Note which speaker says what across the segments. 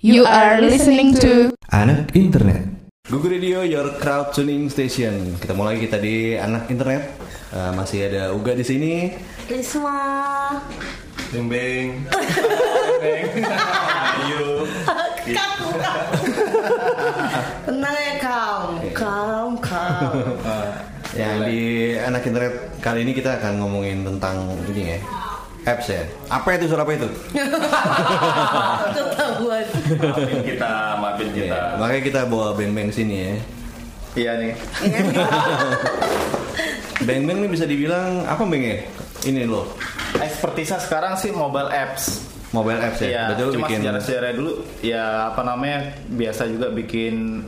Speaker 1: You are listening to
Speaker 2: Anak Internet.
Speaker 3: Google Radio, your crowd tuning station. Kita mulai kita di anak internet. Eh, masih ada Uga di sini.
Speaker 4: Risma
Speaker 5: Beng beng. beng. Ayo.
Speaker 4: kaku kaku tenang ya kaum kaum kaum
Speaker 3: Yang di anak internet kali ini kita akan ngomongin tentang ini ya. Apps ya. Apa itu suara apa itu?
Speaker 4: ketahuan
Speaker 5: Maafin kita, maafin kita.
Speaker 3: Ya, makanya kita bawa Beng Beng sini ya.
Speaker 5: Iya nih.
Speaker 3: Beng Beng ini bisa dibilang apa Beng ya? Ini loh,
Speaker 5: Ekspertisa sekarang sih mobile apps.
Speaker 3: mobile apps ya.
Speaker 5: Iya,
Speaker 3: Berarti lu
Speaker 5: cuma
Speaker 3: bikin
Speaker 5: sejarah-sejarah dulu ya apa namanya biasa juga bikin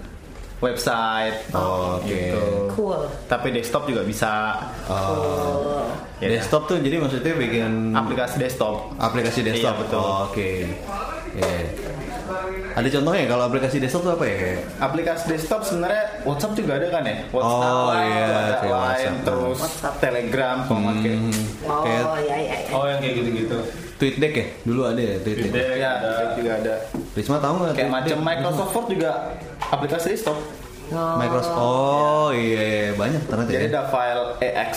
Speaker 5: website.
Speaker 3: Oh, oke.
Speaker 5: Gitu.
Speaker 4: cool
Speaker 5: Tapi desktop juga bisa.
Speaker 3: Oh.
Speaker 5: Ya,
Speaker 3: desktop tuh jadi maksudnya bikin
Speaker 5: Aplikasi desktop.
Speaker 3: aplikasi desktop.
Speaker 5: Iya, betul.
Speaker 3: Oh, oke. Ya. Ada contohnya kalau aplikasi desktop tuh apa ya? Kayak
Speaker 5: Aplikasi desktop sebenarnya WhatsApp juga ada kan ya? WhatsApp,
Speaker 3: Oh, iya,
Speaker 5: ada
Speaker 3: kayak
Speaker 5: Line,
Speaker 3: WhatsApp. Hmm.
Speaker 5: terus Telegram, kalau kayak
Speaker 4: oh
Speaker 3: Kayak-
Speaker 4: ya ya ya
Speaker 5: Oh yang kayak gitu-gitu.
Speaker 3: TweetDeck ya? Dulu ada ya TweetDeck.
Speaker 5: Iya, juga ada.
Speaker 3: Risma tahu nggak?
Speaker 5: Kayak
Speaker 3: TweetDeck?
Speaker 5: macam Microsoft Word juga aplikasi desktop.
Speaker 4: Oh.
Speaker 3: Microsoft. Oh iya, iya. banyak ternyata
Speaker 5: Jadi
Speaker 3: ya.
Speaker 5: ada file EX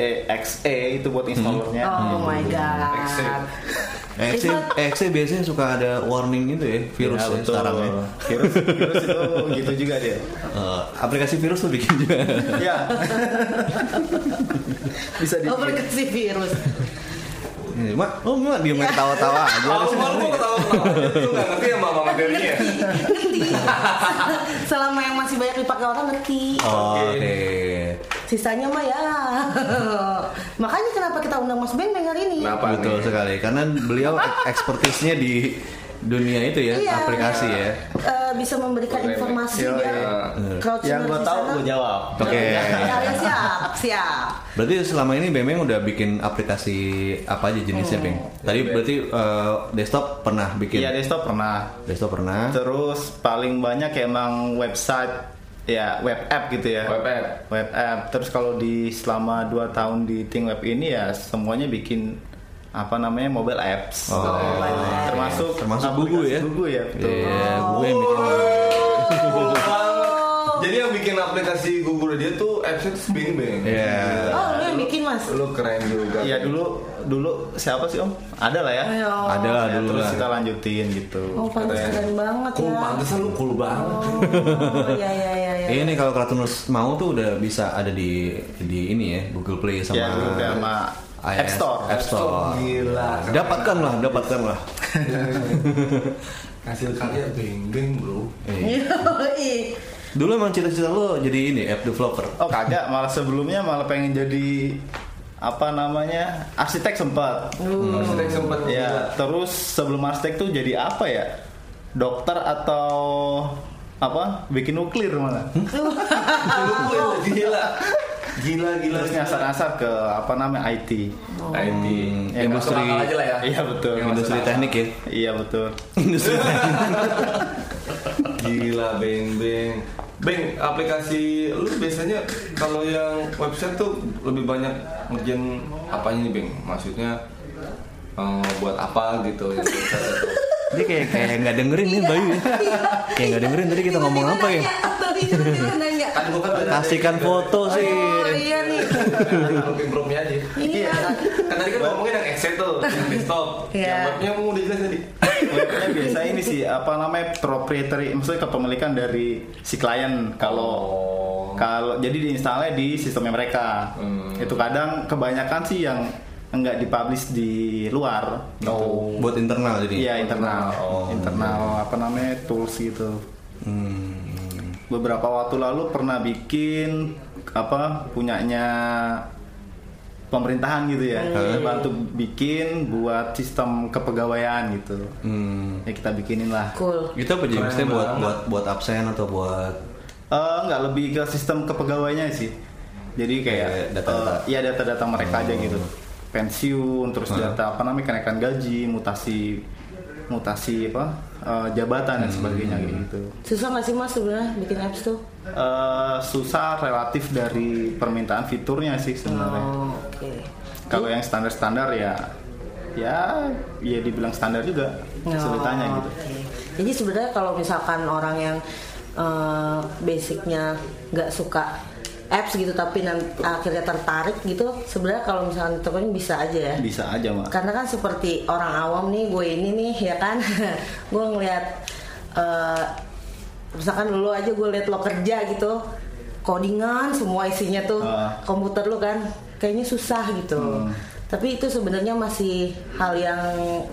Speaker 5: EXE itu buat Hmm. installernya.
Speaker 4: oh my god
Speaker 3: EXE, EXE eh, biasanya suka ada warning itu ya
Speaker 5: Iya,
Speaker 3: virus ya, sekarang ya.
Speaker 5: Virus, virus itu gitu juga dia.
Speaker 3: Eh, aplikasi virus tuh bikin juga.
Speaker 5: Iya. Bisa di.
Speaker 4: oh berkesi virus
Speaker 3: Ini, Mak, oh mak dia main tawa-tawa aja.
Speaker 6: Awal awal gue ketawa ketawa. Lu nggak ngerti sama mama materinya.
Speaker 4: selama yang masih banyak dipakai orang ngerti
Speaker 3: Oh, Oke.
Speaker 4: sisanya mah ya makanya kenapa kita undang Mas Ben dengar ini
Speaker 5: Nah,
Speaker 6: Kenapa
Speaker 3: Betul
Speaker 6: nih?
Speaker 3: sekali karena beliau ek- ekspertisnya di dunia itu ya,
Speaker 4: Iya,
Speaker 3: aplikasi ya.
Speaker 4: eh, bisa memberikan informasi ya.
Speaker 5: Iya,
Speaker 4: biar
Speaker 5: iya.
Speaker 4: crowd
Speaker 5: Yang gue
Speaker 4: di
Speaker 5: tahu
Speaker 4: sana-
Speaker 5: gue jawab.
Speaker 3: Oke.
Speaker 4: Kalian siap siap
Speaker 3: Berarti selama ini Bemeng udah bikin aplikasi apa aja jenisnya, Beng? Tadi berarti eh, desktop pernah bikin.
Speaker 5: Oh. Iya desktop pernah.
Speaker 3: Desktop pernah.
Speaker 5: Terus paling banyak emang website ya web app gitu ya.
Speaker 6: Web app.
Speaker 5: Web app. Terus kalau di selama 2 tahun di Think Web ini ya semuanya bikin apa namanya mobile apps.
Speaker 3: Oh.
Speaker 5: Termasuk
Speaker 3: Termasuk
Speaker 5: aplikasi
Speaker 3: Gugu ya?
Speaker 5: Gugu ya. Betul.
Speaker 3: Iya, gue yang bikin.
Speaker 6: Jadi yang bikin aplikasi Google dia tuh appsnya tuh Bing Bing.
Speaker 3: Iya.
Speaker 4: oh lu yang bikin mas
Speaker 6: Lu keren juga.
Speaker 5: Iya dulu dulu siapa sih Om? Ada lah ya.
Speaker 4: Ayo.
Speaker 3: Ada lah
Speaker 5: Ya,
Speaker 3: dulu
Speaker 5: terus
Speaker 3: lah.
Speaker 5: kita lanjutin gitu.
Speaker 4: Oh, pantes keren banget
Speaker 6: Kok
Speaker 4: ya.
Speaker 6: pantesan lu cool banget.
Speaker 4: Oh, ya, ya, ya, ya.
Speaker 3: Iya, Ini kalau Kratunus mau tuh udah bisa ada di di ini ya Google Play sama
Speaker 5: Ya dulu sama
Speaker 3: iOS,
Speaker 5: App Store.
Speaker 3: App Store.
Speaker 6: Gila.
Speaker 3: Dapatkanlah, dapatkanlah.
Speaker 6: Hasil karya Bing Bing bro.
Speaker 3: Eh,
Speaker 4: Yoi.
Speaker 3: Dulu emang cita-cita lo jadi ini app developer.
Speaker 5: Oh kagak, malah sebelumnya malah pengen jadi apa namanya arsitek sempat.
Speaker 6: Arsitek sempet
Speaker 5: Ya, terus sebelum arsitek tuh jadi apa ya? Dokter atau apa? Bikin nuklir malah.
Speaker 6: Hmm? Gila. Gila. Gila gila.
Speaker 5: Terus nyasar-nyasar ke apa namanya IT.
Speaker 6: IT.
Speaker 5: Ya,
Speaker 3: industri-
Speaker 6: masuk akal aja lah ya.
Speaker 5: Iya betul.
Speaker 6: Yang
Speaker 3: Industri
Speaker 6: masuk akal.
Speaker 3: teknik ya.
Speaker 5: Iya betul.
Speaker 3: Industri teknik.
Speaker 6: Gila Beng Beng. Beng, aplikasi lu biasanya kalau yang website tuh lebih banyak ngerjain apanya nih Beng? Maksudnya eh, buat apa gitu yang website itu.
Speaker 3: Dia kayak kayak nggak dengerin
Speaker 4: Iya.
Speaker 3: nih Bayu. ya. Kayak nggak dengerin tadi kita ngomong apa ya?
Speaker 4: Tiba-tiba iya, nanya.
Speaker 6: Kan gua kan tadi-
Speaker 3: Kasihkan foto sih.
Speaker 4: Oh, iya nih.
Speaker 6: Aku improve-nya aja.
Speaker 4: Iya.
Speaker 6: Kan tadi kan ngomongin yang Excel tuh, yang desktop.
Speaker 4: Iya.
Speaker 6: Yang webnya mau udah jelas tadi.
Speaker 5: Webnya biasa ini sih apa namanya proprietary, maksudnya kepemilikan dari si klien kalau
Speaker 6: Oh. Hmm.
Speaker 5: Kalau jadi diinstalnya di sistemnya mereka. Itu kadang kebanyakan sih yang enggak dipublish di luar.
Speaker 6: Oh.
Speaker 3: Buat internal jadi.
Speaker 5: Iya internal,
Speaker 6: Oh.
Speaker 5: internal apa namanya tools gitu.
Speaker 3: Hmm,
Speaker 5: Beberapa waktu lalu pernah bikin apa punyanya pemerintahan gitu ya. Kita bantu bikin buat sistem kepegawaian gitu. Ya kita bikinin lah.
Speaker 4: Cool.
Speaker 3: hmm. Itu apa jadi?
Speaker 6: Keren
Speaker 3: Maksudnya buat
Speaker 6: banget.
Speaker 3: buat buat absen atau buat
Speaker 5: Eh, nggak lebih ke sistem kepegawainya sih. Jadi
Speaker 3: Kayak
Speaker 5: kayak
Speaker 3: data-data.
Speaker 5: eh, iya data-data mereka aja gitu. Pensiun, terus data apa namanya kenaikan gaji, mutasi mutasi apa eh, jabatan dan sebagainya kayak gitu.
Speaker 4: Susah nggak sih mas sebenarnya bikin apps tuh?
Speaker 5: Eh, susah relatif dari permintaan fiturnya sih sebenarnya.
Speaker 4: Oh, Oke.
Speaker 5: Kalau yang standar-standar ya ya ya dibilang standar juga
Speaker 4: Oh,
Speaker 5: kesulitannya gitu.
Speaker 4: oke. Jadi sebenarnya kalau misalkan orang yang eh, basicnya nggak suka apps gitu tapi nanti akhirnya tertarik gitu, sebenarnya kalau misalkan ditemuin bisa aja ya.
Speaker 5: bisa aja mak
Speaker 4: Karena kan seperti orang awam nih, gue ini nih ya kan, gue ngeliat, eh, misalkan lu aja gue liat lo kerja gitu, codingan semua isinya tuh
Speaker 5: Ah. Hmm.
Speaker 4: komputer lu kan, kayaknya susah gitu. Tapi itu sebenarnya masih hal yang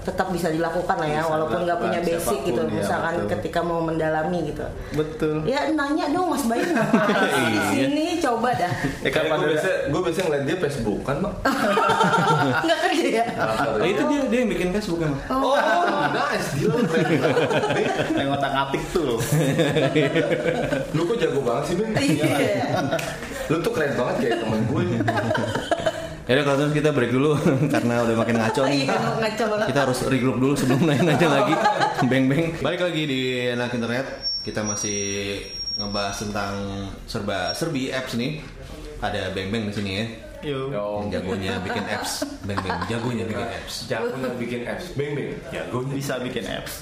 Speaker 4: tetap bisa dilakukan lah ya,
Speaker 5: Bisa
Speaker 4: walaupun nggak punya
Speaker 5: dilakukan
Speaker 4: basic gitu,
Speaker 5: siapapun, ya,
Speaker 4: misalkan
Speaker 5: betul.
Speaker 4: ketika mau mendalami gitu.
Speaker 5: betul
Speaker 4: Ya nanya dong Mas Bayu ngapain sih
Speaker 5: Iya.
Speaker 4: di sini coba dah.
Speaker 5: Eh,
Speaker 6: Kayak
Speaker 5: kapan
Speaker 6: gue
Speaker 5: ada-
Speaker 6: biasa, gue biasa ngeliat dia Facebook kan, Mak.
Speaker 4: Ah. Nggak kerja ya?
Speaker 3: Nah, itu dia dia yang bikin Facebook kan.
Speaker 6: Oh, nice, gila lu keren. Beng,
Speaker 5: yang otak atik tuh
Speaker 6: Lu kok jago banget sih, Beng?
Speaker 4: Iya.
Speaker 6: Lu tuh keren banget kayak temen gue.
Speaker 3: Ya udah kalau gitu kita break dulu karena udah makin ngaco nih.
Speaker 4: Iya, ngaco banget.
Speaker 3: Kita harus regroup dulu sebelum nanya-nanya lagi. Beng-beng. Balik lagi di Enak Internet. Kita masih ngebahas tentang serba serbi apps nih. Ada beng-beng di sini ya.
Speaker 5: Yo.
Speaker 6: Yo,
Speaker 3: Yang jagonya bikin apps. Beng-beng jagonya bikin apps.
Speaker 6: jagonya bikin apps. Ya. Beng, Beng. Jagonya.
Speaker 5: bisa bikin apps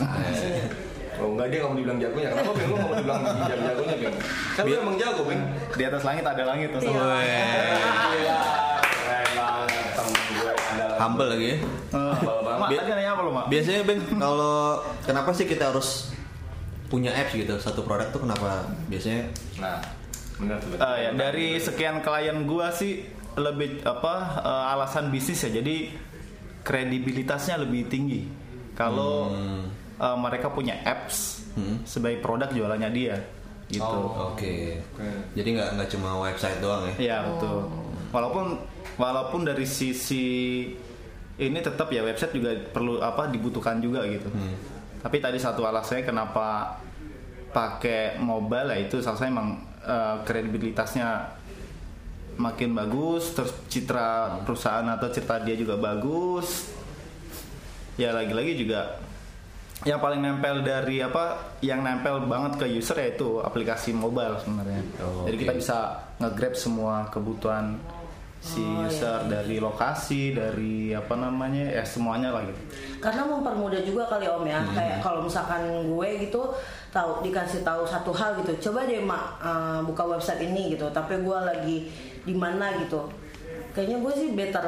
Speaker 6: Oh, enggak dia nggak mau dibilang jagonya. Kenapa, Beng? Lu nggak mau dibilang jagonya, Beng? Kan lu emang jago, Beng.
Speaker 5: di atas langit ada langit Oh, tuh
Speaker 3: Weh,
Speaker 6: Iya. Keren banget temen gue. Andalan.
Speaker 3: humble lagi ya.
Speaker 5: Eh, mak tadi nanya apa lo mak
Speaker 3: Biasanya Beng, kalau kenapa sih kita harus punya apps gitu? Satu produk tuh kenapa biasanya
Speaker 6: Nah, benar tuh. Beng.
Speaker 5: Eh, ya, dari sekian klien gua sih lebih apa eh, alasan bisnis ya jadi kredibilitasnya lebih tinggi kalau eh, mereka punya apps sebagai produk jualannya dia gitu
Speaker 6: Oh.
Speaker 3: Oke.
Speaker 6: Oke.
Speaker 3: Jadi nggak nggak cuma website doang ya?
Speaker 5: ya betul walaupun walaupun dari sisi ini tetap ya website juga perlu apa dibutuhkan juga gitu tapi tadi satu alasannya kenapa pakai mobile ya itu salah saya emang eh, kredibilitasnya makin bagus terus citra perusahaan atau citra dia juga bagus ya lagi-lagi juga yang paling nempel dari apa yang nempel banget ke user yaitu aplikasi mobile sebenarnya
Speaker 3: Oh,
Speaker 5: jadi
Speaker 3: oke.
Speaker 5: kita bisa nge-grab semua kebutuhan si user dari lokasi dari apa namanya ya semuanya lah gitu
Speaker 4: karena mempermudah juga kali om
Speaker 3: Hmm.
Speaker 4: ya kayak kalau misalkan gue gitu tahu dikasih tahu satu hal gitu coba deh mak eh, buka website ini gitu tapi gue lagi di mana gitu kayaknya gue sih better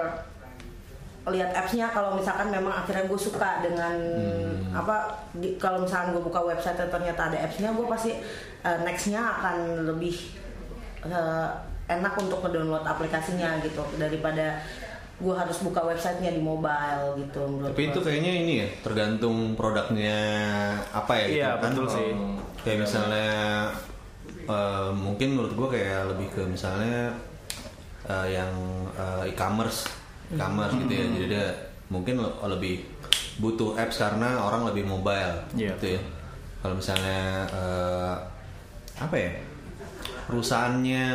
Speaker 4: lihat appsnya kalau misalkan memang akhirnya gue suka dengan
Speaker 3: Hmm.
Speaker 4: apa di- kalau misalkan gue buka website dan ternyata ada appsnya gue pasti eh, nextnya akan lebih eh, enak untuk ngedownload aplikasinya gitu daripada gue harus buka websitenya di mobile gitu menurut
Speaker 3: Tapi
Speaker 4: gua.
Speaker 3: itu kayaknya ini ya, tergantung produknya apa ya gitu
Speaker 5: Iya,
Speaker 3: kan.
Speaker 5: betul sih.
Speaker 3: Kayak misalnya eh, mungkin menurut gua kayak lebih ke misalnya eh, yang eh, e-commerce, e-commerce gitu ya. Jadi dia mungkin le- lebih butuh apps karena orang lebih mobile
Speaker 5: Iya.
Speaker 3: gitu ya. Kalau misalnya eh, apa ya? Perusahaannya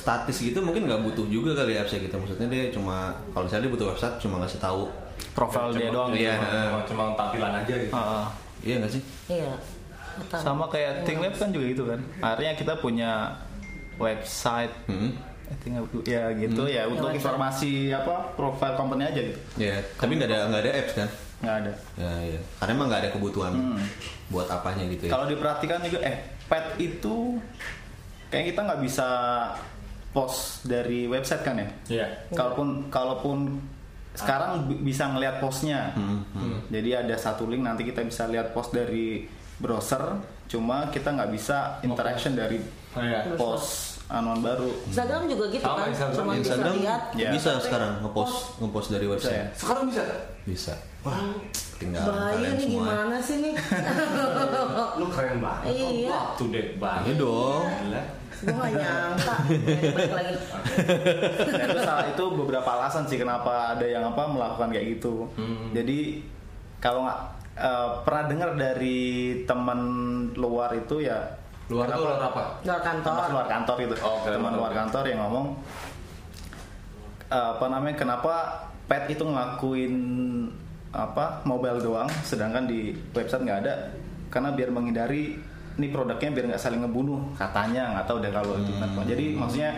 Speaker 3: statis gitu mungkin nggak butuh juga kali appsnya gitu maksudnya dia cuma kalau misalnya dia butuh website cuma ngasih tahu
Speaker 5: profil dia doang gitu.
Speaker 3: Iya.
Speaker 6: Cuma- Cuma tampilan aja gitu.
Speaker 5: Ah, ah.
Speaker 3: iya nggak sih
Speaker 4: Iya. Atau-
Speaker 5: sama kayak ThinkLab kan juga gitu kan akhirnya kita punya website
Speaker 3: Hmm.
Speaker 5: I think aku- ya gitu ya untuk informasi apa profil company aja gitu
Speaker 3: ya tapi nggak ada nggak ada apps kan
Speaker 5: nggak ada
Speaker 3: ya, iya. karena emang nggak ada kebutuhan buat apanya gitu ya
Speaker 5: Hmm. Kalau diperhatikan juga, eh, pet itu kayak kita nggak bisa post dari website kan ya?
Speaker 6: Iya.
Speaker 5: Kalaupun kalaupun sekarang bi- bisa ngelihat postnya, jadi ada satu link nanti kita bisa lihat post dari browser, cuma kita nggak bisa interaction dari
Speaker 6: Oh, iya.
Speaker 5: post anuan baru.
Speaker 4: Instagram juga gitu
Speaker 6: Sama
Speaker 4: kan,
Speaker 6: Instagram.
Speaker 4: cuma bisa
Speaker 3: Instagram
Speaker 4: lihat.
Speaker 5: Ya.
Speaker 3: bisa sekarang ngepost ngepost dari website
Speaker 5: Bisa ya? Hmm.
Speaker 6: Sekarang bisa nggak?
Speaker 3: bisa wah tinggal
Speaker 4: Bahaya
Speaker 3: kalian
Speaker 4: nih
Speaker 3: semua ya."
Speaker 4: gimana sih nih?
Speaker 6: Lu keren banget.
Speaker 4: Iya.
Speaker 6: Lu Up to date banget.
Speaker 3: Iya dong.
Speaker 6: Gila.
Speaker 4: Gue gak nyangka. Balik lagi.
Speaker 5: Nah, itu salah itu beberapa alasan sih kenapa ada yang apa melakukan kayak gitu. Jadi kalau nggak eh, pernah dengar dari teman luar itu ya
Speaker 6: Luar tuh luar apa?
Speaker 4: Luar
Speaker 5: teman
Speaker 4: kantor.
Speaker 5: luar kantor itu,
Speaker 6: Oh, oke.
Speaker 5: teman luar kantor yang ngomong eh, apa namanya kenapa pet itu ngelakuin apa mobile doang, sedangkan di website nggak ada karena biar menghindari ini produknya biar nggak saling ngebunuh katanya nggak tahu deh kalau itu kenapa. Jadi maksudnya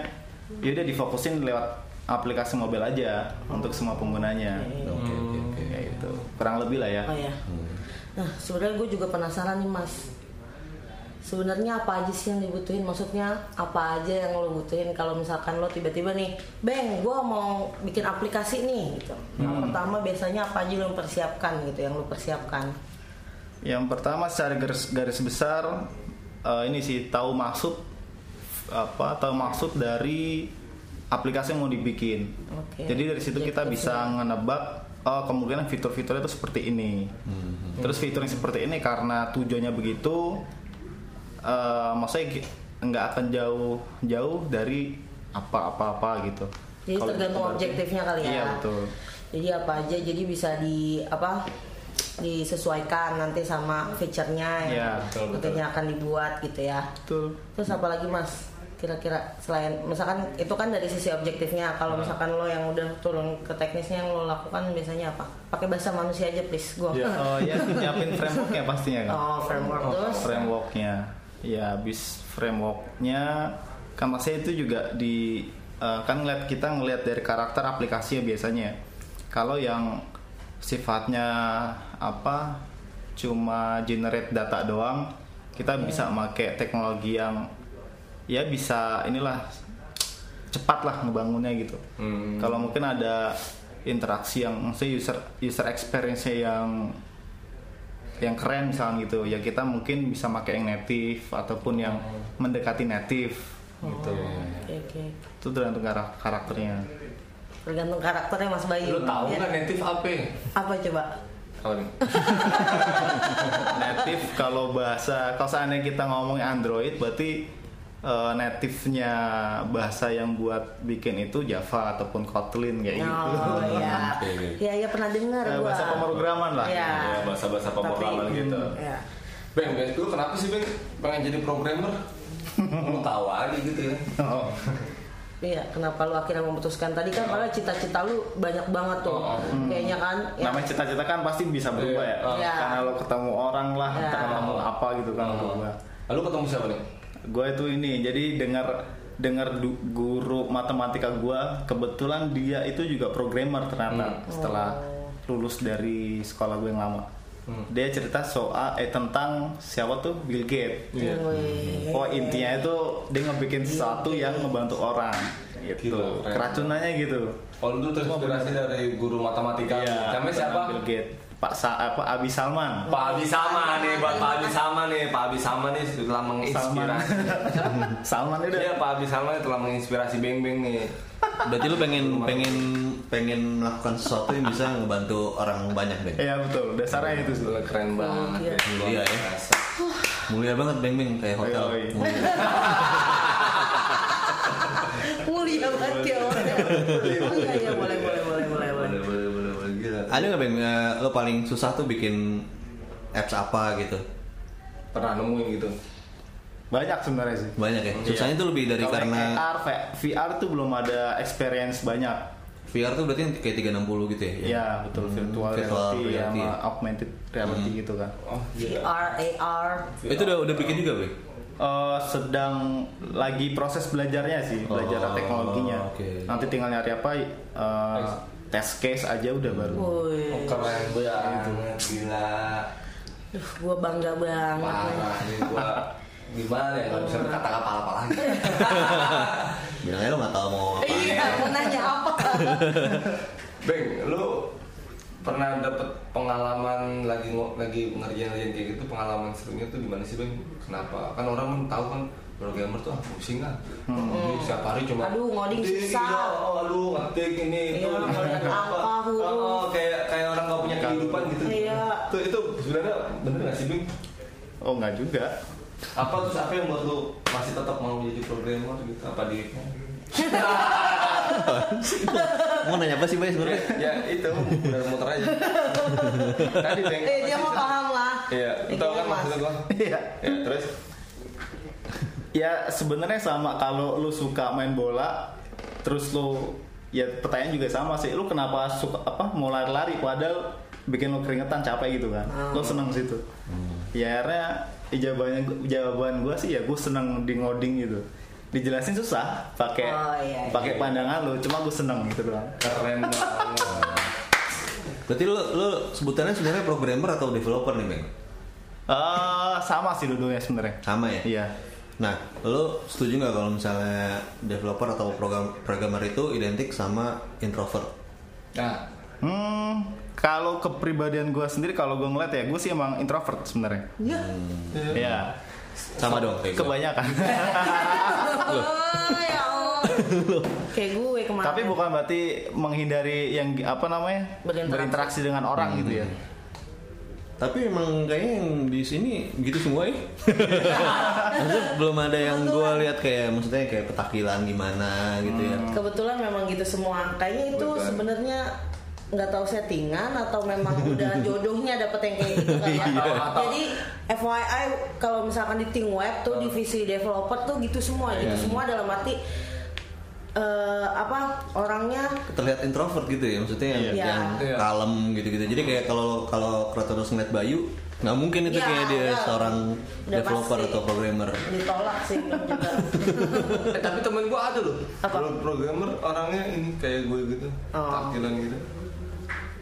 Speaker 5: ya udah difokusin lewat aplikasi mobile
Speaker 3: Iya.
Speaker 5: aja untuk semua penggunanya Hmm.
Speaker 3: oke oke oke
Speaker 5: kayak gitu kurang lebih lah ya
Speaker 4: Oh ya. Nah, sebenarnya gue juga penasaran nih mas. Sebenarnya apa aja sih yang dibutuhin? Maksudnya apa aja yang lo butuhin kalau misalkan lo tiba-tiba nih, Bang, gue mau bikin aplikasi nih gitu. Yang
Speaker 6: Hmm.
Speaker 4: pertama biasanya apa aja lo persiapkan gitu, yang lo persiapkan.
Speaker 5: Yang pertama secara garis, garis besar eh, ini sih tahu maksud apa tahu maksud dari aplikasi yang mau dibikin.
Speaker 4: Oke.
Speaker 5: Jadi dari situ kita bisa ngenebak oh kemungkinan fitur-fiturnya itu seperti ini. Terus fitur yang seperti ini karena tujuannya begitu eh maksudnya ki- nggak akan jauh-jauh dari apa-apa-apa gitu.
Speaker 4: Jadi
Speaker 5: Kalau
Speaker 4: tergantung
Speaker 5: kita-
Speaker 4: objektifnya kali ya.
Speaker 5: Iya betul.
Speaker 4: Jadi apa aja, jadi bisa di apa disesuaikan nanti sama fiturnya
Speaker 5: Iya,
Speaker 4: yang
Speaker 5: betul, betul.
Speaker 4: akhirnya akan dibuat gitu ya.
Speaker 5: Betul.
Speaker 4: Terus apa lagi mas? Kira-kira selain misalkan itu kan dari sisi objektifnya, kalau misalkan lo yang udah turun ke teknisnya yang lo lakukan biasanya apa? Pakai bahasa manusia aja please, gua.
Speaker 5: Oh ya nyiapin frameworknya pastinya kan.
Speaker 4: Oh, framework terus.
Speaker 5: frameworknya ya habis frameworknya kan maksudnya itu juga di eh, kan ngeliat kita ngeliat dari karakter aplikasi ya biasanya kalau yang sifatnya apa cuma generate data doang kita bisa pakai teknologi yang ya bisa inilah cepat lah ngebangunnya gitu kalau mungkin ada interaksi yang maksudnya user user experience-nya yang yang keren misalnya gitu ya kita mungkin bisa pakai yang native ataupun yang mendekati native gitu
Speaker 4: Oke, oke.
Speaker 5: itu tergantung kara- karakternya
Speaker 4: Tergantung karakternya Mas Bayu.
Speaker 6: Lu tahu
Speaker 4: Ya.
Speaker 6: nggak native apa?
Speaker 4: Apa coba?
Speaker 6: Apa nih?
Speaker 5: native kalau bahasa kalau seandainya kita ngomong android berarti eh, native-nya bahasa yang buat bikin itu Java ataupun Kotlin kayak gitu
Speaker 4: Oh iya.
Speaker 3: Oke, oke.
Speaker 4: Iya, iya pernah dengar
Speaker 5: Eh,
Speaker 4: gua.
Speaker 5: bahasa pemrograman lah
Speaker 4: Iya.
Speaker 6: Ya, bahasa-bahasa pemrograman
Speaker 4: Tapi-
Speaker 6: gitu.
Speaker 4: Iya.
Speaker 6: Bang, guys, lu kenapa sih Bang pengen jadi programmer? Lu tahu aja gitu ya.
Speaker 5: Oh.
Speaker 4: Iya, kenapa lu akhirnya memutuskan tadi kan padahal cita-cita lu banyak banget tuh.
Speaker 6: Oh.
Speaker 4: Kayaknya kan ya.
Speaker 5: namanya cita-cita kan pasti bisa berubah ya
Speaker 6: Iya.
Speaker 4: Iya.
Speaker 5: karena lo ketemu orang lah
Speaker 4: Iya.
Speaker 5: ketemu apa gitu kan berubah
Speaker 6: Lalu Ah, ketemu siapa nih?
Speaker 5: gue itu ini jadi dengar dengar du- guru matematika gue kebetulan dia itu juga programmer
Speaker 6: Hmm.
Speaker 5: ternyata setelah
Speaker 6: Oh.
Speaker 5: lulus dari sekolah gue yang lama
Speaker 6: Hmm.
Speaker 5: dia cerita soal eh tentang siapa tuh Bill Gates
Speaker 6: iya.
Speaker 4: Wih.
Speaker 5: oh intinya itu dia ngebikin sesuatu yang ngebantu orang gitu
Speaker 6: Gila, keren.
Speaker 5: keracunannya gitu
Speaker 6: Kalau dulu terinspirasi dari guru matematika. Namanya Iya, siapa?
Speaker 5: Bill Gates Pak Sa apa Abi Salman
Speaker 6: Pak Abi sama nih, buat Pak Abi sama nih, Pak Abi sama nih telah
Speaker 5: Salman
Speaker 6: menginspirasi.
Speaker 5: Salman udah
Speaker 6: Iya, Pak Abi sama nih telah menginspirasi Beng Beng nih.
Speaker 3: Berarti lu pengen pengen pengen melakukan sesuatu yang bisa ngebantu orang banyak, Beng.
Speaker 5: Iya betul, dasarnya itu sih.
Speaker 6: Gila, keren banget.
Speaker 3: Iya, ya. Mulia banget Beng Beng kayak hotel.
Speaker 5: Iya, iya.
Speaker 3: Mulia.
Speaker 4: Mulia banget ya. orangnya. Iya, iya, boleh, boleh, boleh, boleh, boleh.
Speaker 6: Boleh, boleh, boleh, gila.
Speaker 3: Ada nggak Beng eh, lo paling susah tuh bikin apps apa gitu?
Speaker 6: Pernah nemuin gitu.
Speaker 5: Banyak sebenarnya sih.
Speaker 3: Banyak ya. Susahnya tuh lebih dari
Speaker 5: Iya. Kalau yang
Speaker 3: karena
Speaker 5: AR, V- VR tuh belum ada experience banyak.
Speaker 3: VR tuh berarti kayak 360 gitu ya? Hmm,
Speaker 5: Ya betul virtual,
Speaker 3: virtual
Speaker 5: reality, ya,
Speaker 3: reality. Hmm.
Speaker 5: sama augmented reality gitu kan.
Speaker 6: Oh, gila.
Speaker 4: VR, AR.
Speaker 3: Itu udah udah bikin juga, Bang?
Speaker 5: Eh, sedang lagi proses belajarnya sih,
Speaker 3: Oh,
Speaker 5: belajar teknologinya.
Speaker 3: oke.
Speaker 5: Nanti tinggal nyari apa eh, test case aja udah baru.
Speaker 4: Woi.
Speaker 6: Oh, keren banget, gila.
Speaker 4: Duh, gua bangga banget. nih.
Speaker 6: Parah nih gua gimana ya nggak bisa berkata apa-apa lagi.
Speaker 3: Bilangnya lo nggak tahu mau apa.
Speaker 4: Iya, mau nanya apa?
Speaker 6: Beng, lu pernah dapet pengalaman lagi ngo- lagi ngerjain-ngerjain kayak gitu pengalaman serunya tuh gimana sih Beng? Kenapa? Kan orang kan tahu kan programmer tuh ah pusing ah. Jadi Setiap hari cuma
Speaker 4: Aduh, ngoding
Speaker 6: "Ngetik,
Speaker 4: susah."
Speaker 6: iya, oh, aduh ngetik ini itu
Speaker 4: Iya,
Speaker 6: ini,
Speaker 4: ngetik
Speaker 6: apa.
Speaker 4: angka, huruf.
Speaker 6: Oh, oh, kayak kayak orang nggak punya kehidupan gitu.
Speaker 4: Iya.
Speaker 6: Tuh itu sebenarnya bener nggak sih Beng?
Speaker 5: Oh nggak juga.
Speaker 6: Apa terus apa yang buat lu masih tetap mau jadi programmer gitu? Apa di
Speaker 3: Mau nanya apa sih, Bay sebenarnya?
Speaker 6: ya itu benar muter aja tadi beng
Speaker 4: Eh, dia mau paham lah.
Speaker 6: iya
Speaker 4: Eh,
Speaker 6: tau kan
Speaker 4: gimana, Mas?
Speaker 6: maksud gua
Speaker 5: Iya.
Speaker 6: ya terus
Speaker 5: Ya sebenarnya sama kalau lu suka main bola, terus lu ya pertanyaan juga sama sih. Lu kenapa suka apa mau lari-lari padahal bikin lu keringetan capek gitu kan?
Speaker 4: Ah.
Speaker 5: Lu seneng situ. Ya akhirnya jawabannya jawaban gua sih ya gue seneng di ngoding gitu. Dijelasin susah pakai
Speaker 4: Oh, iya, iya.
Speaker 5: pakai pandangan lu, cuma gue seneng gitu doang.
Speaker 6: keren banget
Speaker 3: Berarti lu, lu sebutannya sebenarnya programmer atau developer nih, Bang?
Speaker 5: Eh, sama sih dulunya sebenarnya.
Speaker 3: Sama ya?
Speaker 5: Iya.
Speaker 3: Nah, lu setuju nggak kalau misalnya developer atau program programmer itu identik sama introvert?
Speaker 6: Nah,
Speaker 5: Hmm, kalau kepribadian gue sendiri kalau gue ngeliat ya gue sih emang introvert sebenarnya.
Speaker 4: Ya.
Speaker 5: Iya.
Speaker 3: Sama dong kayak gitu. gue.
Speaker 5: Kebanyakan.
Speaker 4: Oh, ya Allah. Kayak gue kemarin.
Speaker 5: Tapi bukan berarti menghindari yang apa namanya
Speaker 4: Berinteraksi.
Speaker 5: berinteraksi dengan orang gitu ya.
Speaker 3: Tapi emang kayaknya yang di sini gitu semua ya. Maksudnya belum ada yang gua lihat kayak maksudnya kayak petakilan gimana gitu ya.
Speaker 4: kebetulan memang gitu semua. Kayaknya itu
Speaker 6: Betul.
Speaker 4: sebenarnya nggak tahu settingan atau memang udah jodohnya dapet yang kayak gitu kan ya.
Speaker 6: Iya.
Speaker 4: Jadi FYI kalau misalkan di tim web tuh divisi developer tuh gitu semua gitu
Speaker 6: Iya.
Speaker 4: semua dalam arti eh, apa orangnya
Speaker 3: terlihat introvert gitu ya maksudnya yang,
Speaker 4: Iya.
Speaker 3: yang
Speaker 6: Iya.
Speaker 3: kalem gitu-gitu jadi kayak kalau kalau Kratos ngeliat Bayu nggak mungkin itu
Speaker 4: Iya,
Speaker 3: kayak dia
Speaker 4: udah.
Speaker 3: seorang
Speaker 4: Udah
Speaker 3: developer
Speaker 4: pasti.
Speaker 3: atau programmer
Speaker 4: ditolak sih belum juga.
Speaker 6: eh, tapi temen gue ada loh.
Speaker 4: Apa?
Speaker 6: Pro- Programmer orangnya ini kayak gue gitu,
Speaker 4: Oh.
Speaker 6: takdilan gitu.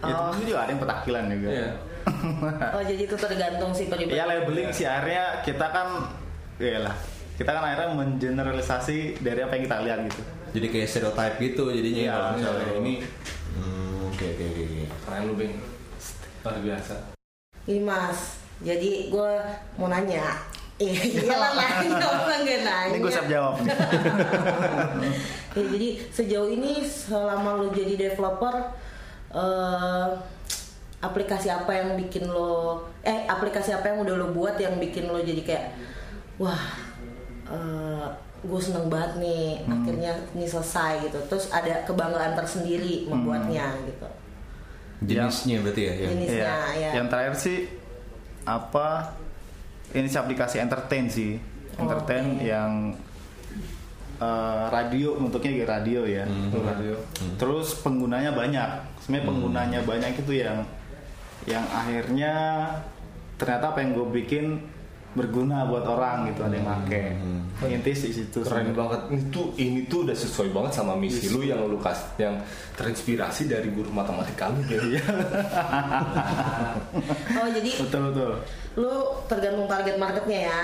Speaker 5: Ya tentu juga ada yang petakilan juga.
Speaker 6: Iya.
Speaker 4: Oh jadi itu tergantung sih pribadi.
Speaker 5: Ya labeling sih akhirnya kita kan ya lah kita kan akhirnya mengeneralisasi dari apa yang kita lihat gitu.
Speaker 3: jadi kayak stereotype gitu jadinya
Speaker 5: Iya,
Speaker 3: kalau misalnya
Speaker 6: iya.
Speaker 3: ini hmm, oke oke oke oke.
Speaker 6: Keren lu, Beng. Luar biasa.
Speaker 4: Ini Mas, jadi gue mau nanya. Iya lah nanya orang gak nanya.
Speaker 5: Ini gue siap jawab. nih.
Speaker 4: Ya, jadi sejauh ini selama lo jadi developer eh, aplikasi apa yang bikin lo eh aplikasi apa yang udah lo buat yang bikin lo jadi kayak wah gue seneng banget nih
Speaker 5: Hmm.
Speaker 4: akhirnya ini selesai gitu terus ada kebanggaan tersendiri membuatnya gitu
Speaker 3: jenisnya berarti ya, ya.
Speaker 4: Jenis. Bisnya,
Speaker 5: Hmm. Iya.
Speaker 4: ya.
Speaker 5: Yang terakhir sih apa ini sih aplikasi entertain sih. Entertain yang eh, radio bentuknya kayak radio ya.
Speaker 6: Hmm. Iya.
Speaker 5: Itu radio. Terus penggunanya banyak. Sebenarnya penggunanya banyak itu yang yang akhirnya ternyata apa yang gue bikin berguna buat orang gitu ada yang pakai. Intis di situ.
Speaker 6: keren banget ini tuh ini tuh udah sesuai banget sama misi lu yang lu kas yang terinspirasi dari guru matematika lu ya
Speaker 4: oh jadi
Speaker 5: Betul betul.
Speaker 4: lo tergantung target marketnya ya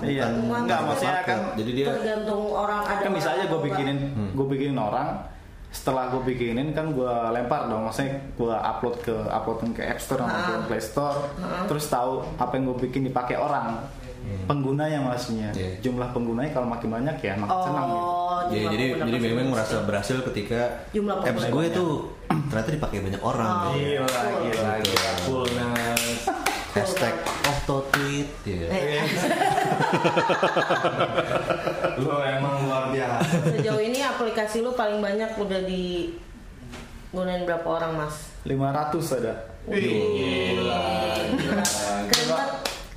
Speaker 5: Iya.
Speaker 4: Bukan market.
Speaker 5: Enggak maksudnya kan
Speaker 3: jadi dia
Speaker 4: tergantung orang ada
Speaker 5: kan bisa
Speaker 4: orang
Speaker 5: aja gue
Speaker 4: apa enggak.
Speaker 5: bikinin gue bikinin orang setelah gue bikinin kan gue lempar dong maksudnya gue upload ke uploadin ke App Store atau
Speaker 4: Ah.
Speaker 5: Play Store terus tahu apa yang gue bikin dipakai orang penggunanya maksudnya
Speaker 3: Iya.
Speaker 5: jumlah penggunanya kalau makin banyak ya makin senang gitu.
Speaker 4: oh
Speaker 3: Ya,
Speaker 4: jumlah
Speaker 3: jadi
Speaker 4: pengguna
Speaker 3: jadi
Speaker 4: tersebut.
Speaker 3: memang merasa berhasil ketika
Speaker 4: Jumlah
Speaker 3: apps
Speaker 4: pengguna
Speaker 3: gue tuh ternyata dipakai banyak orang
Speaker 4: Oh.
Speaker 3: gitu ya.
Speaker 6: gila gila gila nah. coolness
Speaker 3: hashtag auto tweet ya.
Speaker 4: Eh,
Speaker 6: lu emang luar biasa
Speaker 4: Sejauh ini aplikasi lu paling banyak udah di gunain berapa orang mas?
Speaker 5: 500 ada
Speaker 6: gila gila.
Speaker 3: Eh,
Speaker 4: Keren banget,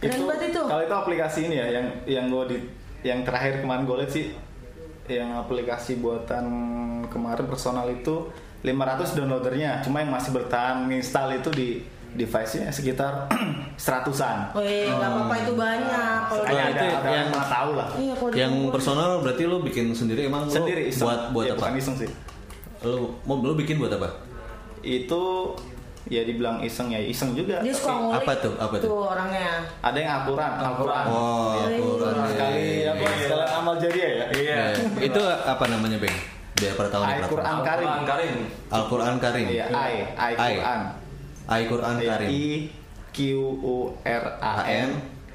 Speaker 4: keren banget itu.
Speaker 5: kalau itu aplikasi ini ya yang yang gue di yang terakhir kemarin gue lihat sih yang aplikasi buatan kemarin personal itu 500 downloadernya cuma yang masih bertahan install itu di device-nya sekitar seratusan
Speaker 3: Eh,
Speaker 4: Wih, nggak apa-apa itu banyak. Kalau
Speaker 5: Kayaknya
Speaker 3: itu
Speaker 5: ada, ada
Speaker 3: yang-
Speaker 5: yang pernah tahu lah
Speaker 4: iya, kalau
Speaker 3: yang
Speaker 4: dikumpulin.
Speaker 3: personal berarti lo bikin sendiri
Speaker 4: Oh,
Speaker 3: emang lo
Speaker 5: sendiri iseng.
Speaker 3: buat buat
Speaker 5: Ya,
Speaker 3: apa
Speaker 5: bukan iseng sih
Speaker 3: lo mau lo bikin buat apa
Speaker 5: itu ya dibilang iseng ya iseng juga
Speaker 4: dia suka
Speaker 5: tapi
Speaker 4: ngulik.
Speaker 3: eh, Apa tuh? Apa tuh?
Speaker 4: orangnya.
Speaker 5: ada yang akurat akurat
Speaker 3: Oh,
Speaker 4: Iya.
Speaker 3: Quran ya.
Speaker 5: sekali apa
Speaker 3: Iya.
Speaker 5: sekali amal jariah ya
Speaker 6: iya
Speaker 3: Ya, Itu apa namanya, Bang? Biar pada tahu nih
Speaker 5: Al-Quran
Speaker 3: peraturan.
Speaker 5: Karim
Speaker 6: Karim Karim
Speaker 3: Al-Quran Karim.
Speaker 5: Iya, I, I,
Speaker 3: I.
Speaker 5: Quran.
Speaker 3: Al-Quran Karim.
Speaker 5: I Q U R A N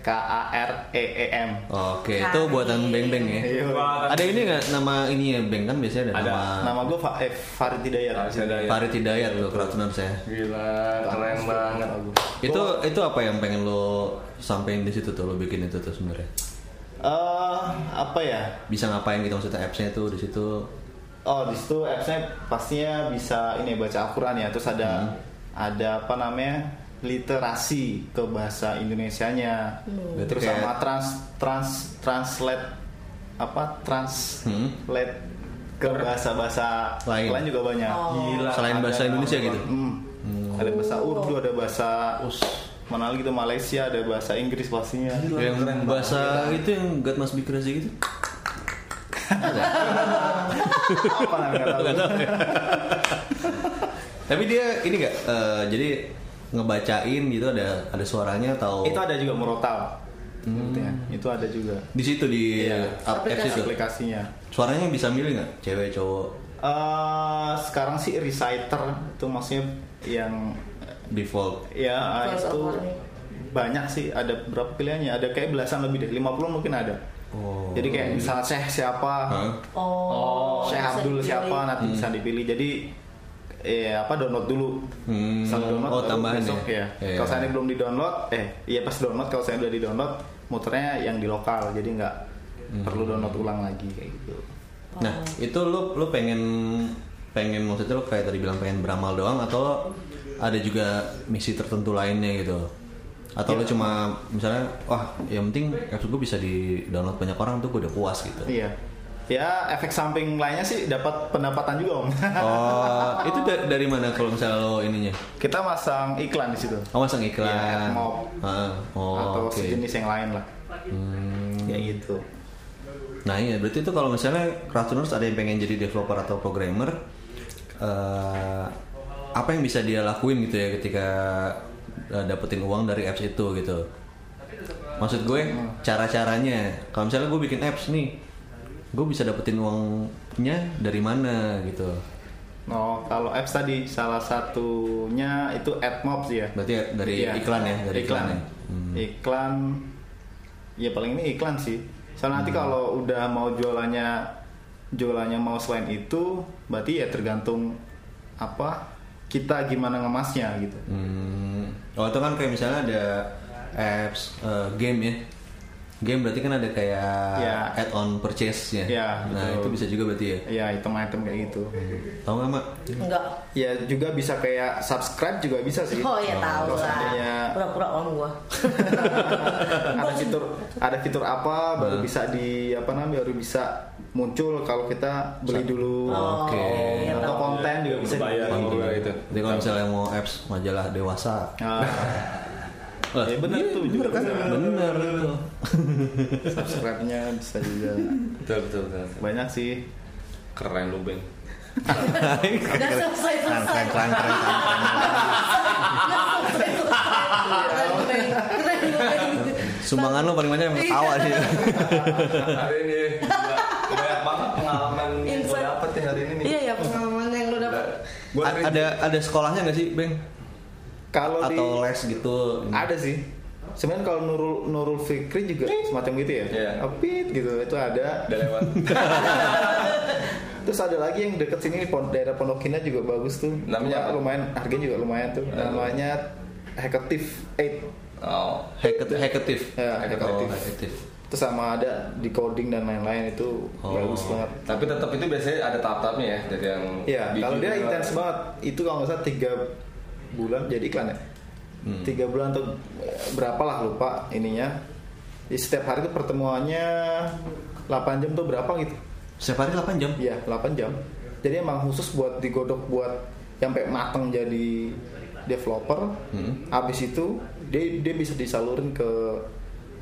Speaker 5: K A R E E M.
Speaker 3: Oke, itu buatan Beng Beng ya.
Speaker 5: Iya.
Speaker 3: Ada ini nggak nama ini ya Beng kan biasanya ada,
Speaker 6: Ada.
Speaker 5: Nama gue Fa eh, Farid Hidayat.
Speaker 6: Masih ada
Speaker 3: nama
Speaker 6: ya.
Speaker 3: Farid Hidayat loh keratunan saya.
Speaker 6: gila keren banget
Speaker 3: Itu itu apa yang pengen lo sampein di situ tuh lo bikin itu tuh sebenarnya?
Speaker 5: Eh, apa ya?
Speaker 3: Bisa ngapain gitu maksudnya apps-nya tuh di situ?
Speaker 5: Oh, di situ appsnya pastinya bisa ini ya, baca Al-Quran ya. Terus ada
Speaker 3: Hmm.
Speaker 5: ada apa namanya literasi ke bahasa Indonesianya.
Speaker 3: Hmm. Berarti
Speaker 5: Terus
Speaker 3: kayak-
Speaker 5: sama trans trans translate apa translate ke bahasa-bahasa
Speaker 3: Hmm. Lain. Oh.
Speaker 5: lain juga banyak.
Speaker 6: gila
Speaker 3: Selain
Speaker 5: ada
Speaker 3: bahasa Indonesia
Speaker 5: ada-
Speaker 3: gitu. Oh.
Speaker 5: Hmm. Ada bahasa Urdu, ada bahasa Us. Mana lagi tuh Malaysia, ada bahasa Inggris pastinya.
Speaker 3: Yang
Speaker 6: Keren banget.
Speaker 3: bahasa itu yang God Must Be Crazy gitu.
Speaker 5: Apa namanya? nggak tahu.
Speaker 3: Nggak tahu ya. Tapi dia ini nggak eh, jadi ngebacain gitu ada ada suaranya atau
Speaker 5: Itu ada juga murotal. Ya, Itu ada juga.
Speaker 3: di situ di app apps
Speaker 5: Iya. aplikasi
Speaker 3: Hmm. itu.
Speaker 5: aplikasinya.
Speaker 3: Suaranya bisa milih nggak? Cewek cowok
Speaker 5: Eh, sekarang sih reciter itu maksudnya yang
Speaker 3: default.
Speaker 5: ya
Speaker 4: Voice
Speaker 5: itu
Speaker 4: over.
Speaker 5: banyak sih ada berapa pilihannya ada kayak belasan lebih deh 50 mungkin ada
Speaker 3: Oh.
Speaker 5: jadi kayak misalnya Syekh siapa
Speaker 3: Hah?
Speaker 4: Oh,
Speaker 5: Syekh
Speaker 4: bisa
Speaker 5: Abdul
Speaker 4: dipilih.
Speaker 5: siapa nanti bisa dipilih jadi eh apa download dulu
Speaker 3: Hmm.
Speaker 5: Misalnya download
Speaker 3: Oh,
Speaker 5: baru
Speaker 3: tambahan
Speaker 5: besok,
Speaker 3: ya?
Speaker 5: ya,
Speaker 3: Iya.
Speaker 5: kalau saya belum di download eh iya pas download kalau saya udah di download muternya yang di lokal jadi nggak
Speaker 3: Hmm.
Speaker 5: perlu download ulang lagi kayak gitu
Speaker 3: Nah, itu lu lu pengen pengen maksudnya lu kayak tadi bilang pengen beramal doang atau ada juga misi tertentu lainnya gitu. Atau
Speaker 5: Iya.
Speaker 3: lu cuma misalnya wah, yang penting kasus gue bisa di-download banyak orang tuh gue udah puas gitu.
Speaker 5: iya ya efek samping lainnya sih dapat pendapatan juga om
Speaker 3: Oh, itu da- dari mana kalau misalnya lo ininya?
Speaker 5: kita masang iklan di situ
Speaker 3: Oh, masang iklan.
Speaker 5: Iya, mau.
Speaker 3: Ah, oh,
Speaker 5: atau
Speaker 3: oke. Hmm.
Speaker 5: sejenis yang lain lah ya gitu
Speaker 3: Nah, iya berarti itu kalau misalnya Kratuners ada yang pengen jadi developer atau programmer eh, apa yang bisa dia lakuin gitu ya ketika eh, dapetin uang dari apps itu gitu. Maksud gue
Speaker 5: Hmm.
Speaker 3: cara-caranya. Kalau misalnya gue bikin apps nih, gue bisa dapetin uangnya dari mana gitu.
Speaker 5: Oh, kalau apps tadi salah satunya itu AdMob sih ya.
Speaker 3: Berarti dari
Speaker 5: Iya.
Speaker 3: iklan ya, dari iklan, ya. Hmm.
Speaker 5: Iklan. Ya paling ini iklan sih. Soalnya
Speaker 3: Hmm.
Speaker 5: nanti kalau udah mau jualannya jualannya mau selain itu, berarti ya tergantung apa kita gimana ngemasnya gitu.
Speaker 3: Hmm. Oh itu kan kayak misalnya ada apps eh, game ya. Game berarti kan ada kayak
Speaker 5: Ya.
Speaker 3: add-on purchase ya.
Speaker 5: Ya,
Speaker 3: nah
Speaker 5: betul.
Speaker 3: itu bisa juga berarti ya.
Speaker 5: Ya item-item kayak gitu.
Speaker 3: Tahu nggak mak?
Speaker 4: Enggak.
Speaker 5: Ya juga bisa kayak subscribe juga bisa sih.
Speaker 4: Oh ya tahu
Speaker 5: Terus
Speaker 4: lah.
Speaker 5: adanya-
Speaker 4: Pura-pura om gua.
Speaker 5: ada fitur ada fitur apa baru
Speaker 3: Hmm.
Speaker 5: bisa di apa namanya baru bisa muncul kalau kita beli dulu
Speaker 3: Oke.
Speaker 4: iya
Speaker 5: atau
Speaker 4: tahu.
Speaker 5: konten juga bisa
Speaker 6: Bayar gitu ya.
Speaker 5: dibeli.
Speaker 6: juga itu.
Speaker 3: Jadi kalau misalnya mau apps majalah dewasa.
Speaker 5: Ah,
Speaker 3: Lah,
Speaker 5: ya benar tuh juga bisa.
Speaker 3: Iya, Bener itu.
Speaker 5: subscribe-nya bisa juga
Speaker 6: Betul, betul, betul. betul.
Speaker 5: banyak sih
Speaker 6: Keren lu, Beng.
Speaker 4: Udah selesai selesai.
Speaker 3: Keren keren keren. Iya. Sumbangan lo paling banyak yang
Speaker 5: Iya.
Speaker 3: ketawa sih.
Speaker 6: Hari ini banyak banget pengalaman yang gue
Speaker 4: Insight.
Speaker 6: dapet ya hari ini nih.
Speaker 4: Iya ya pengalaman yang lu dapat.
Speaker 6: Gua
Speaker 3: A- ada ada sekolahnya nggak sih, Beng?
Speaker 5: kalau di
Speaker 3: Atau les gitu?
Speaker 5: ada sih sebenarnya kalau Nurul Nurul Fikri juga semacam gitu ya
Speaker 6: Iya.
Speaker 5: Apit gitu itu ada
Speaker 6: udah lewat.
Speaker 5: terus ada lagi yang deket sini di pon- daerah Pondok Indah juga bagus tuh
Speaker 6: Namanya apa?
Speaker 5: lumayan harganya juga lumayan tuh
Speaker 6: Ya.
Speaker 5: namanya Hackative 8
Speaker 6: Oh,
Speaker 3: Hacket hackative. Oh,
Speaker 5: Ya, hackative.
Speaker 3: hackative.
Speaker 5: terus sama ada di coding dan lain-lain itu
Speaker 3: Oh.
Speaker 5: bagus banget
Speaker 6: tapi tetap itu biasanya ada tahap-tahapnya ya dari yang
Speaker 5: ya
Speaker 6: bikin
Speaker 5: kalau dia
Speaker 6: dulu.
Speaker 5: intens banget itu kalau nggak salah tiga bulan jadi iklan ya
Speaker 6: Hmm.
Speaker 5: tiga bulan atau berapa lah lupa ininya Di setiap hari itu pertemuannya 8 jam tuh berapa gitu
Speaker 3: Setiap hari 8 jam.
Speaker 5: ya 8 jam jadi emang khusus buat digodok buat sampai mateng jadi developer
Speaker 6: Hmm.
Speaker 5: habis itu dia dia bisa disalurin ke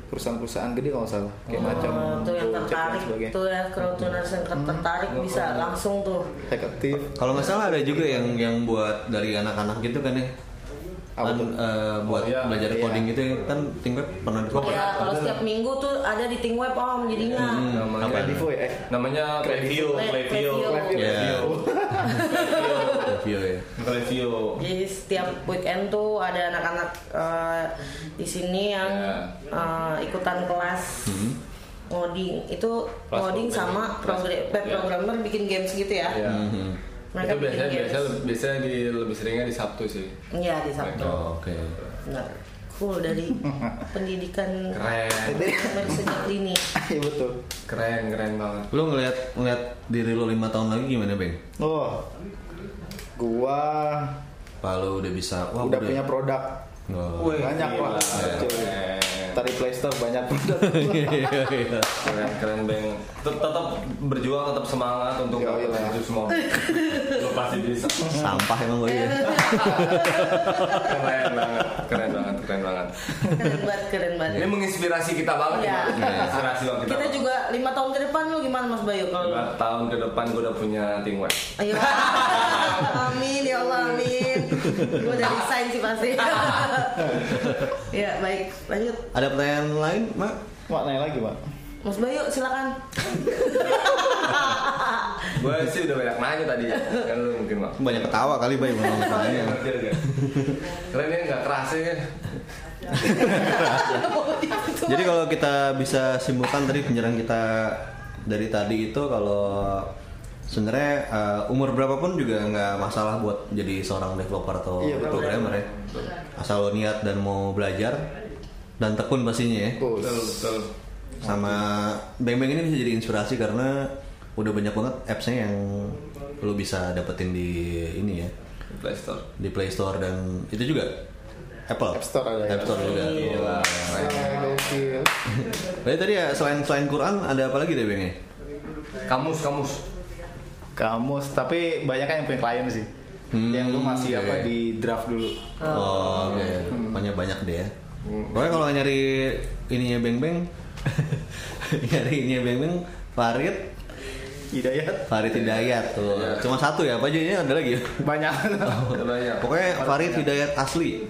Speaker 5: perusahaan-perusahaan gede kalau nggak salah kayak macam
Speaker 4: Oh, tuh yang
Speaker 5: Gojek dan
Speaker 4: tertarik
Speaker 5: sebagainya.
Speaker 4: tuh ya kerutuners yang
Speaker 6: Hmm.
Speaker 4: tertarik bisa langsung tuh.
Speaker 5: Hackative
Speaker 3: Kalau nggak salah ada juga yang yang buat dari anak-anak gitu kan ya.
Speaker 5: Apa
Speaker 3: Kan,
Speaker 5: tuh?
Speaker 3: eh, buat
Speaker 5: iya,
Speaker 3: belajar
Speaker 5: iya.
Speaker 3: coding gitu ya. kan tim web pernah di
Speaker 4: Ya kalau setiap minggu tuh ada di Ting Web om jadinya.
Speaker 6: namanya
Speaker 3: Apa?
Speaker 5: Kredivo ya? Eh,
Speaker 6: namanya preview, Iya.
Speaker 4: Play-
Speaker 6: preview,
Speaker 4: Playview.
Speaker 3: Ya.
Speaker 5: Kredivo.
Speaker 3: Review ya.
Speaker 6: preview.
Speaker 4: Jadi setiap weekend tuh ada anak-anak eh, di sini yang
Speaker 6: Iya.
Speaker 4: eh, ikutan kelas coding. Itu
Speaker 6: Kelas
Speaker 4: coding sama
Speaker 6: programming.
Speaker 4: progra-
Speaker 6: Kelas-
Speaker 4: web
Speaker 6: iya.
Speaker 4: programmer bikin games gitu ya.
Speaker 6: Ya.
Speaker 4: Mereka
Speaker 6: Itu biasanya
Speaker 4: bikin
Speaker 6: biasanya
Speaker 4: games.
Speaker 6: biasanya di lebih seringnya di Sabtu sih.
Speaker 4: Iya di Sabtu.
Speaker 3: Oh, Oke.
Speaker 4: Benar. Cool dari pendidikan
Speaker 6: Keren,
Speaker 4: dari sejak dini.
Speaker 5: Iya betul.
Speaker 6: keren, keren banget.
Speaker 3: Lu ngeliat ngeliat diri lu lima tahun lagi gimana, Bang?
Speaker 5: Oh, gua
Speaker 3: Kalau udah bisa, wah
Speaker 5: udah punya produk
Speaker 3: Oh.
Speaker 6: ya? Wih,
Speaker 5: banyak
Speaker 6: gila. Iya.
Speaker 5: lah.
Speaker 6: Keren.
Speaker 5: Ntar daftar di Play Store banyak
Speaker 3: Iya,
Speaker 6: keren keren bang Tet- tetap berjuang tetap semangat untuk
Speaker 5: Yo, iya.
Speaker 6: itu semua lo pasti bisa
Speaker 3: Sampah emang gue ya.
Speaker 6: keren banget keren banget keren banget
Speaker 4: keren banget keren
Speaker 3: Iya.
Speaker 4: banget
Speaker 6: ini menginspirasi kita banget
Speaker 4: Iya.
Speaker 6: ya menginspirasi banget kita,
Speaker 4: kita juga lima tahun ke depan lu gimana Mas Bayu kalau
Speaker 6: Lima tahun ke depan gue udah punya tim web
Speaker 4: Ayo. amin ya Allah amin. Gue udah resign sih pasti. ya baik lanjut.
Speaker 3: Ada pertanyaan lain, Mak?
Speaker 5: Mak naik lagi mak
Speaker 4: Mas Bayu silakan.
Speaker 6: gue sih udah banyak nanya tadi kan lu mungkin mak
Speaker 3: Banyak ketawa kali, Bay. Belum
Speaker 6: Iya,
Speaker 3: nanya.
Speaker 6: keren ya. Keren ya nggak kerasa ya
Speaker 3: Jadi kalau kita bisa simpulkan tadi penyerang kita dari tadi itu kalau sebenarnya eh, umur berapapun juga nggak masalah buat jadi seorang developer atau
Speaker 5: Iya, betul.
Speaker 3: programmer ya. Asal lo niat dan mau belajar dan tekun pastinya ya.
Speaker 6: betul betul
Speaker 3: Sama Beng Beng ini bisa jadi inspirasi karena udah banyak banget apps-nya yang lo bisa dapetin di ini ya
Speaker 6: Play Store
Speaker 3: di Play Store dan itu juga Apple
Speaker 5: App Store ada ya?
Speaker 3: App Store juga. Wah, keren.
Speaker 5: gokil
Speaker 3: Berarti tadi ya selain selain Quran ada apa lagi deh Bang ya?
Speaker 6: kamus kamus
Speaker 5: kamus tapi banyak kan yang punya klien sih
Speaker 3: Hmm,
Speaker 5: yang lu
Speaker 6: iya,
Speaker 5: masih apa
Speaker 3: oke.
Speaker 5: di draft dulu
Speaker 3: Oh, oke. Banyak banyak deh ya. Pokoknya kalau nyari ininya Beng Beng, nyari ininya Beng Beng, Farid,
Speaker 5: hidayat
Speaker 3: Farid Hidayat tuh. Cuma satu ya, apa aja ini ada lagi ya?
Speaker 5: banyak
Speaker 6: udah banyak
Speaker 3: Pokoknya Farid Hidayat asli.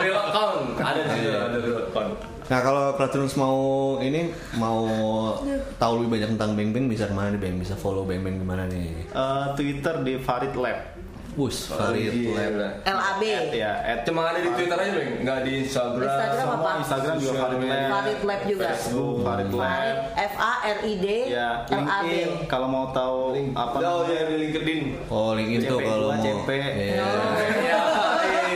Speaker 6: real account ada
Speaker 3: Iya.
Speaker 6: di situ, ada real account
Speaker 3: Nah kalau Platinus mau ini mau tahu lebih banyak tentang Beng Beng bisa kemana nih Beng? Bisa follow Beng Beng kemana nih?
Speaker 5: Eh, Twitter di Farid Lab
Speaker 3: Wus Farid
Speaker 6: Gila.
Speaker 3: Lab.
Speaker 4: LAB.
Speaker 5: ya at
Speaker 6: Cuma ada di Twitter aja, Bang. Nggak di Instagram.
Speaker 4: Instagram
Speaker 5: semua
Speaker 4: apa?
Speaker 5: Instagram juga
Speaker 6: Social
Speaker 5: Farid
Speaker 6: media. Hmm.
Speaker 5: Lab
Speaker 4: Farid Lab juga.
Speaker 5: Facebook Farid Lab
Speaker 4: F A R I D
Speaker 5: ya
Speaker 4: L A B.
Speaker 5: LinkedIn kalau mau tahu apa
Speaker 6: Oh, Gitu
Speaker 5: namanya,
Speaker 6: ya di LinkedIn.
Speaker 3: Oh link itu
Speaker 5: CP2,
Speaker 3: kalau mau.
Speaker 5: CP.
Speaker 3: Iya.
Speaker 6: Iya.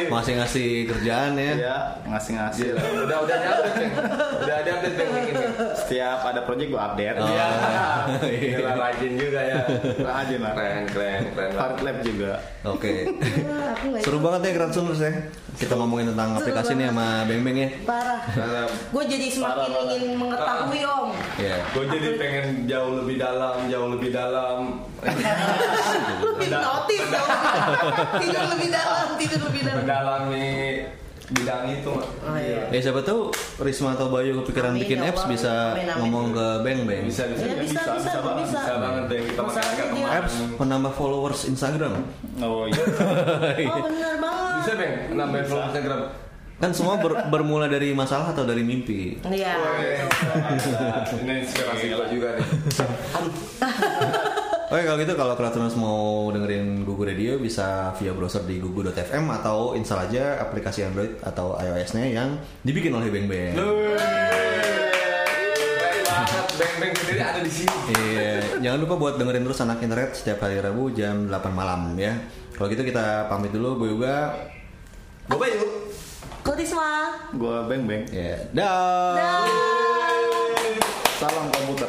Speaker 3: Masih ngasih kerjaan ya.
Speaker 5: ya ngasih-ngasih
Speaker 6: Gila, Udah udah ada update, Bang. Udah ada update Bang LinkedIn. Bang.
Speaker 5: setiap ada project gua update
Speaker 3: Oh.
Speaker 6: Iya.
Speaker 3: Iya.
Speaker 6: Gila rajin juga ya.
Speaker 5: Rajin lah.
Speaker 6: Keren, keren, keren.
Speaker 5: Farid Lab juga
Speaker 3: Oke.
Speaker 4: Ah, aku nggak
Speaker 3: Seru banget ya Kransumers ya. Kita ngomongin tentang aplikasi nih sama Beng Beng ya.
Speaker 4: parah.
Speaker 6: Karena
Speaker 4: Gue jadi semakin
Speaker 5: Parah, parah.
Speaker 4: ingin mengetahui om.
Speaker 3: Iya.
Speaker 6: gue jadi pengen jauh lebih dalam, jauh lebih dalam.
Speaker 4: Lu bikin notis dong. Tidur lebih dalam, tidur lebih dalam.
Speaker 6: Mendalami bidang itu, Mak.
Speaker 4: Oh, iya.
Speaker 3: Eh siapa tahu Risma atau Bayu kepikiran
Speaker 4: Amin,
Speaker 3: bikin
Speaker 4: ya
Speaker 3: apps
Speaker 4: Allah.
Speaker 3: bisa
Speaker 4: Amin, amin.
Speaker 3: ngomong ke Beng Beng.
Speaker 6: Bisa, bisa,
Speaker 4: Iya, bisa, bisa,
Speaker 6: banget,
Speaker 4: bisa.
Speaker 6: bisa banget deh kita
Speaker 4: Masalahnya
Speaker 6: masyarakat
Speaker 4: dia-
Speaker 6: kemarin.
Speaker 3: Apps penambah followers Instagram.
Speaker 5: oh iya
Speaker 4: Oh benar banget.
Speaker 6: Bisa, Bang. Nambahin follow Instagram.
Speaker 3: Kan semua ber- bermula dari masalah atau dari mimpi.
Speaker 4: Iya.
Speaker 6: Ini inspirasi gue juga nih.
Speaker 3: Oke kalau gitu kalau Kratoners mau dengerin Gugu Radio bisa via browser di gugu.fm atau install aja aplikasi Android atau iOS-nya yang dibikin oleh Beng Beng.
Speaker 6: Keren banget, beng-beng sendiri ada di sini.
Speaker 3: Iya, jangan lupa buat dengerin terus anak internet setiap hari Rabu jam 8 malam ya. Kalau gitu kita pamit dulu, Bu Yoga.
Speaker 6: Gue Bayu.
Speaker 4: Kau Risma.
Speaker 5: gua beng beng
Speaker 3: Ya, dah.
Speaker 5: salam komputer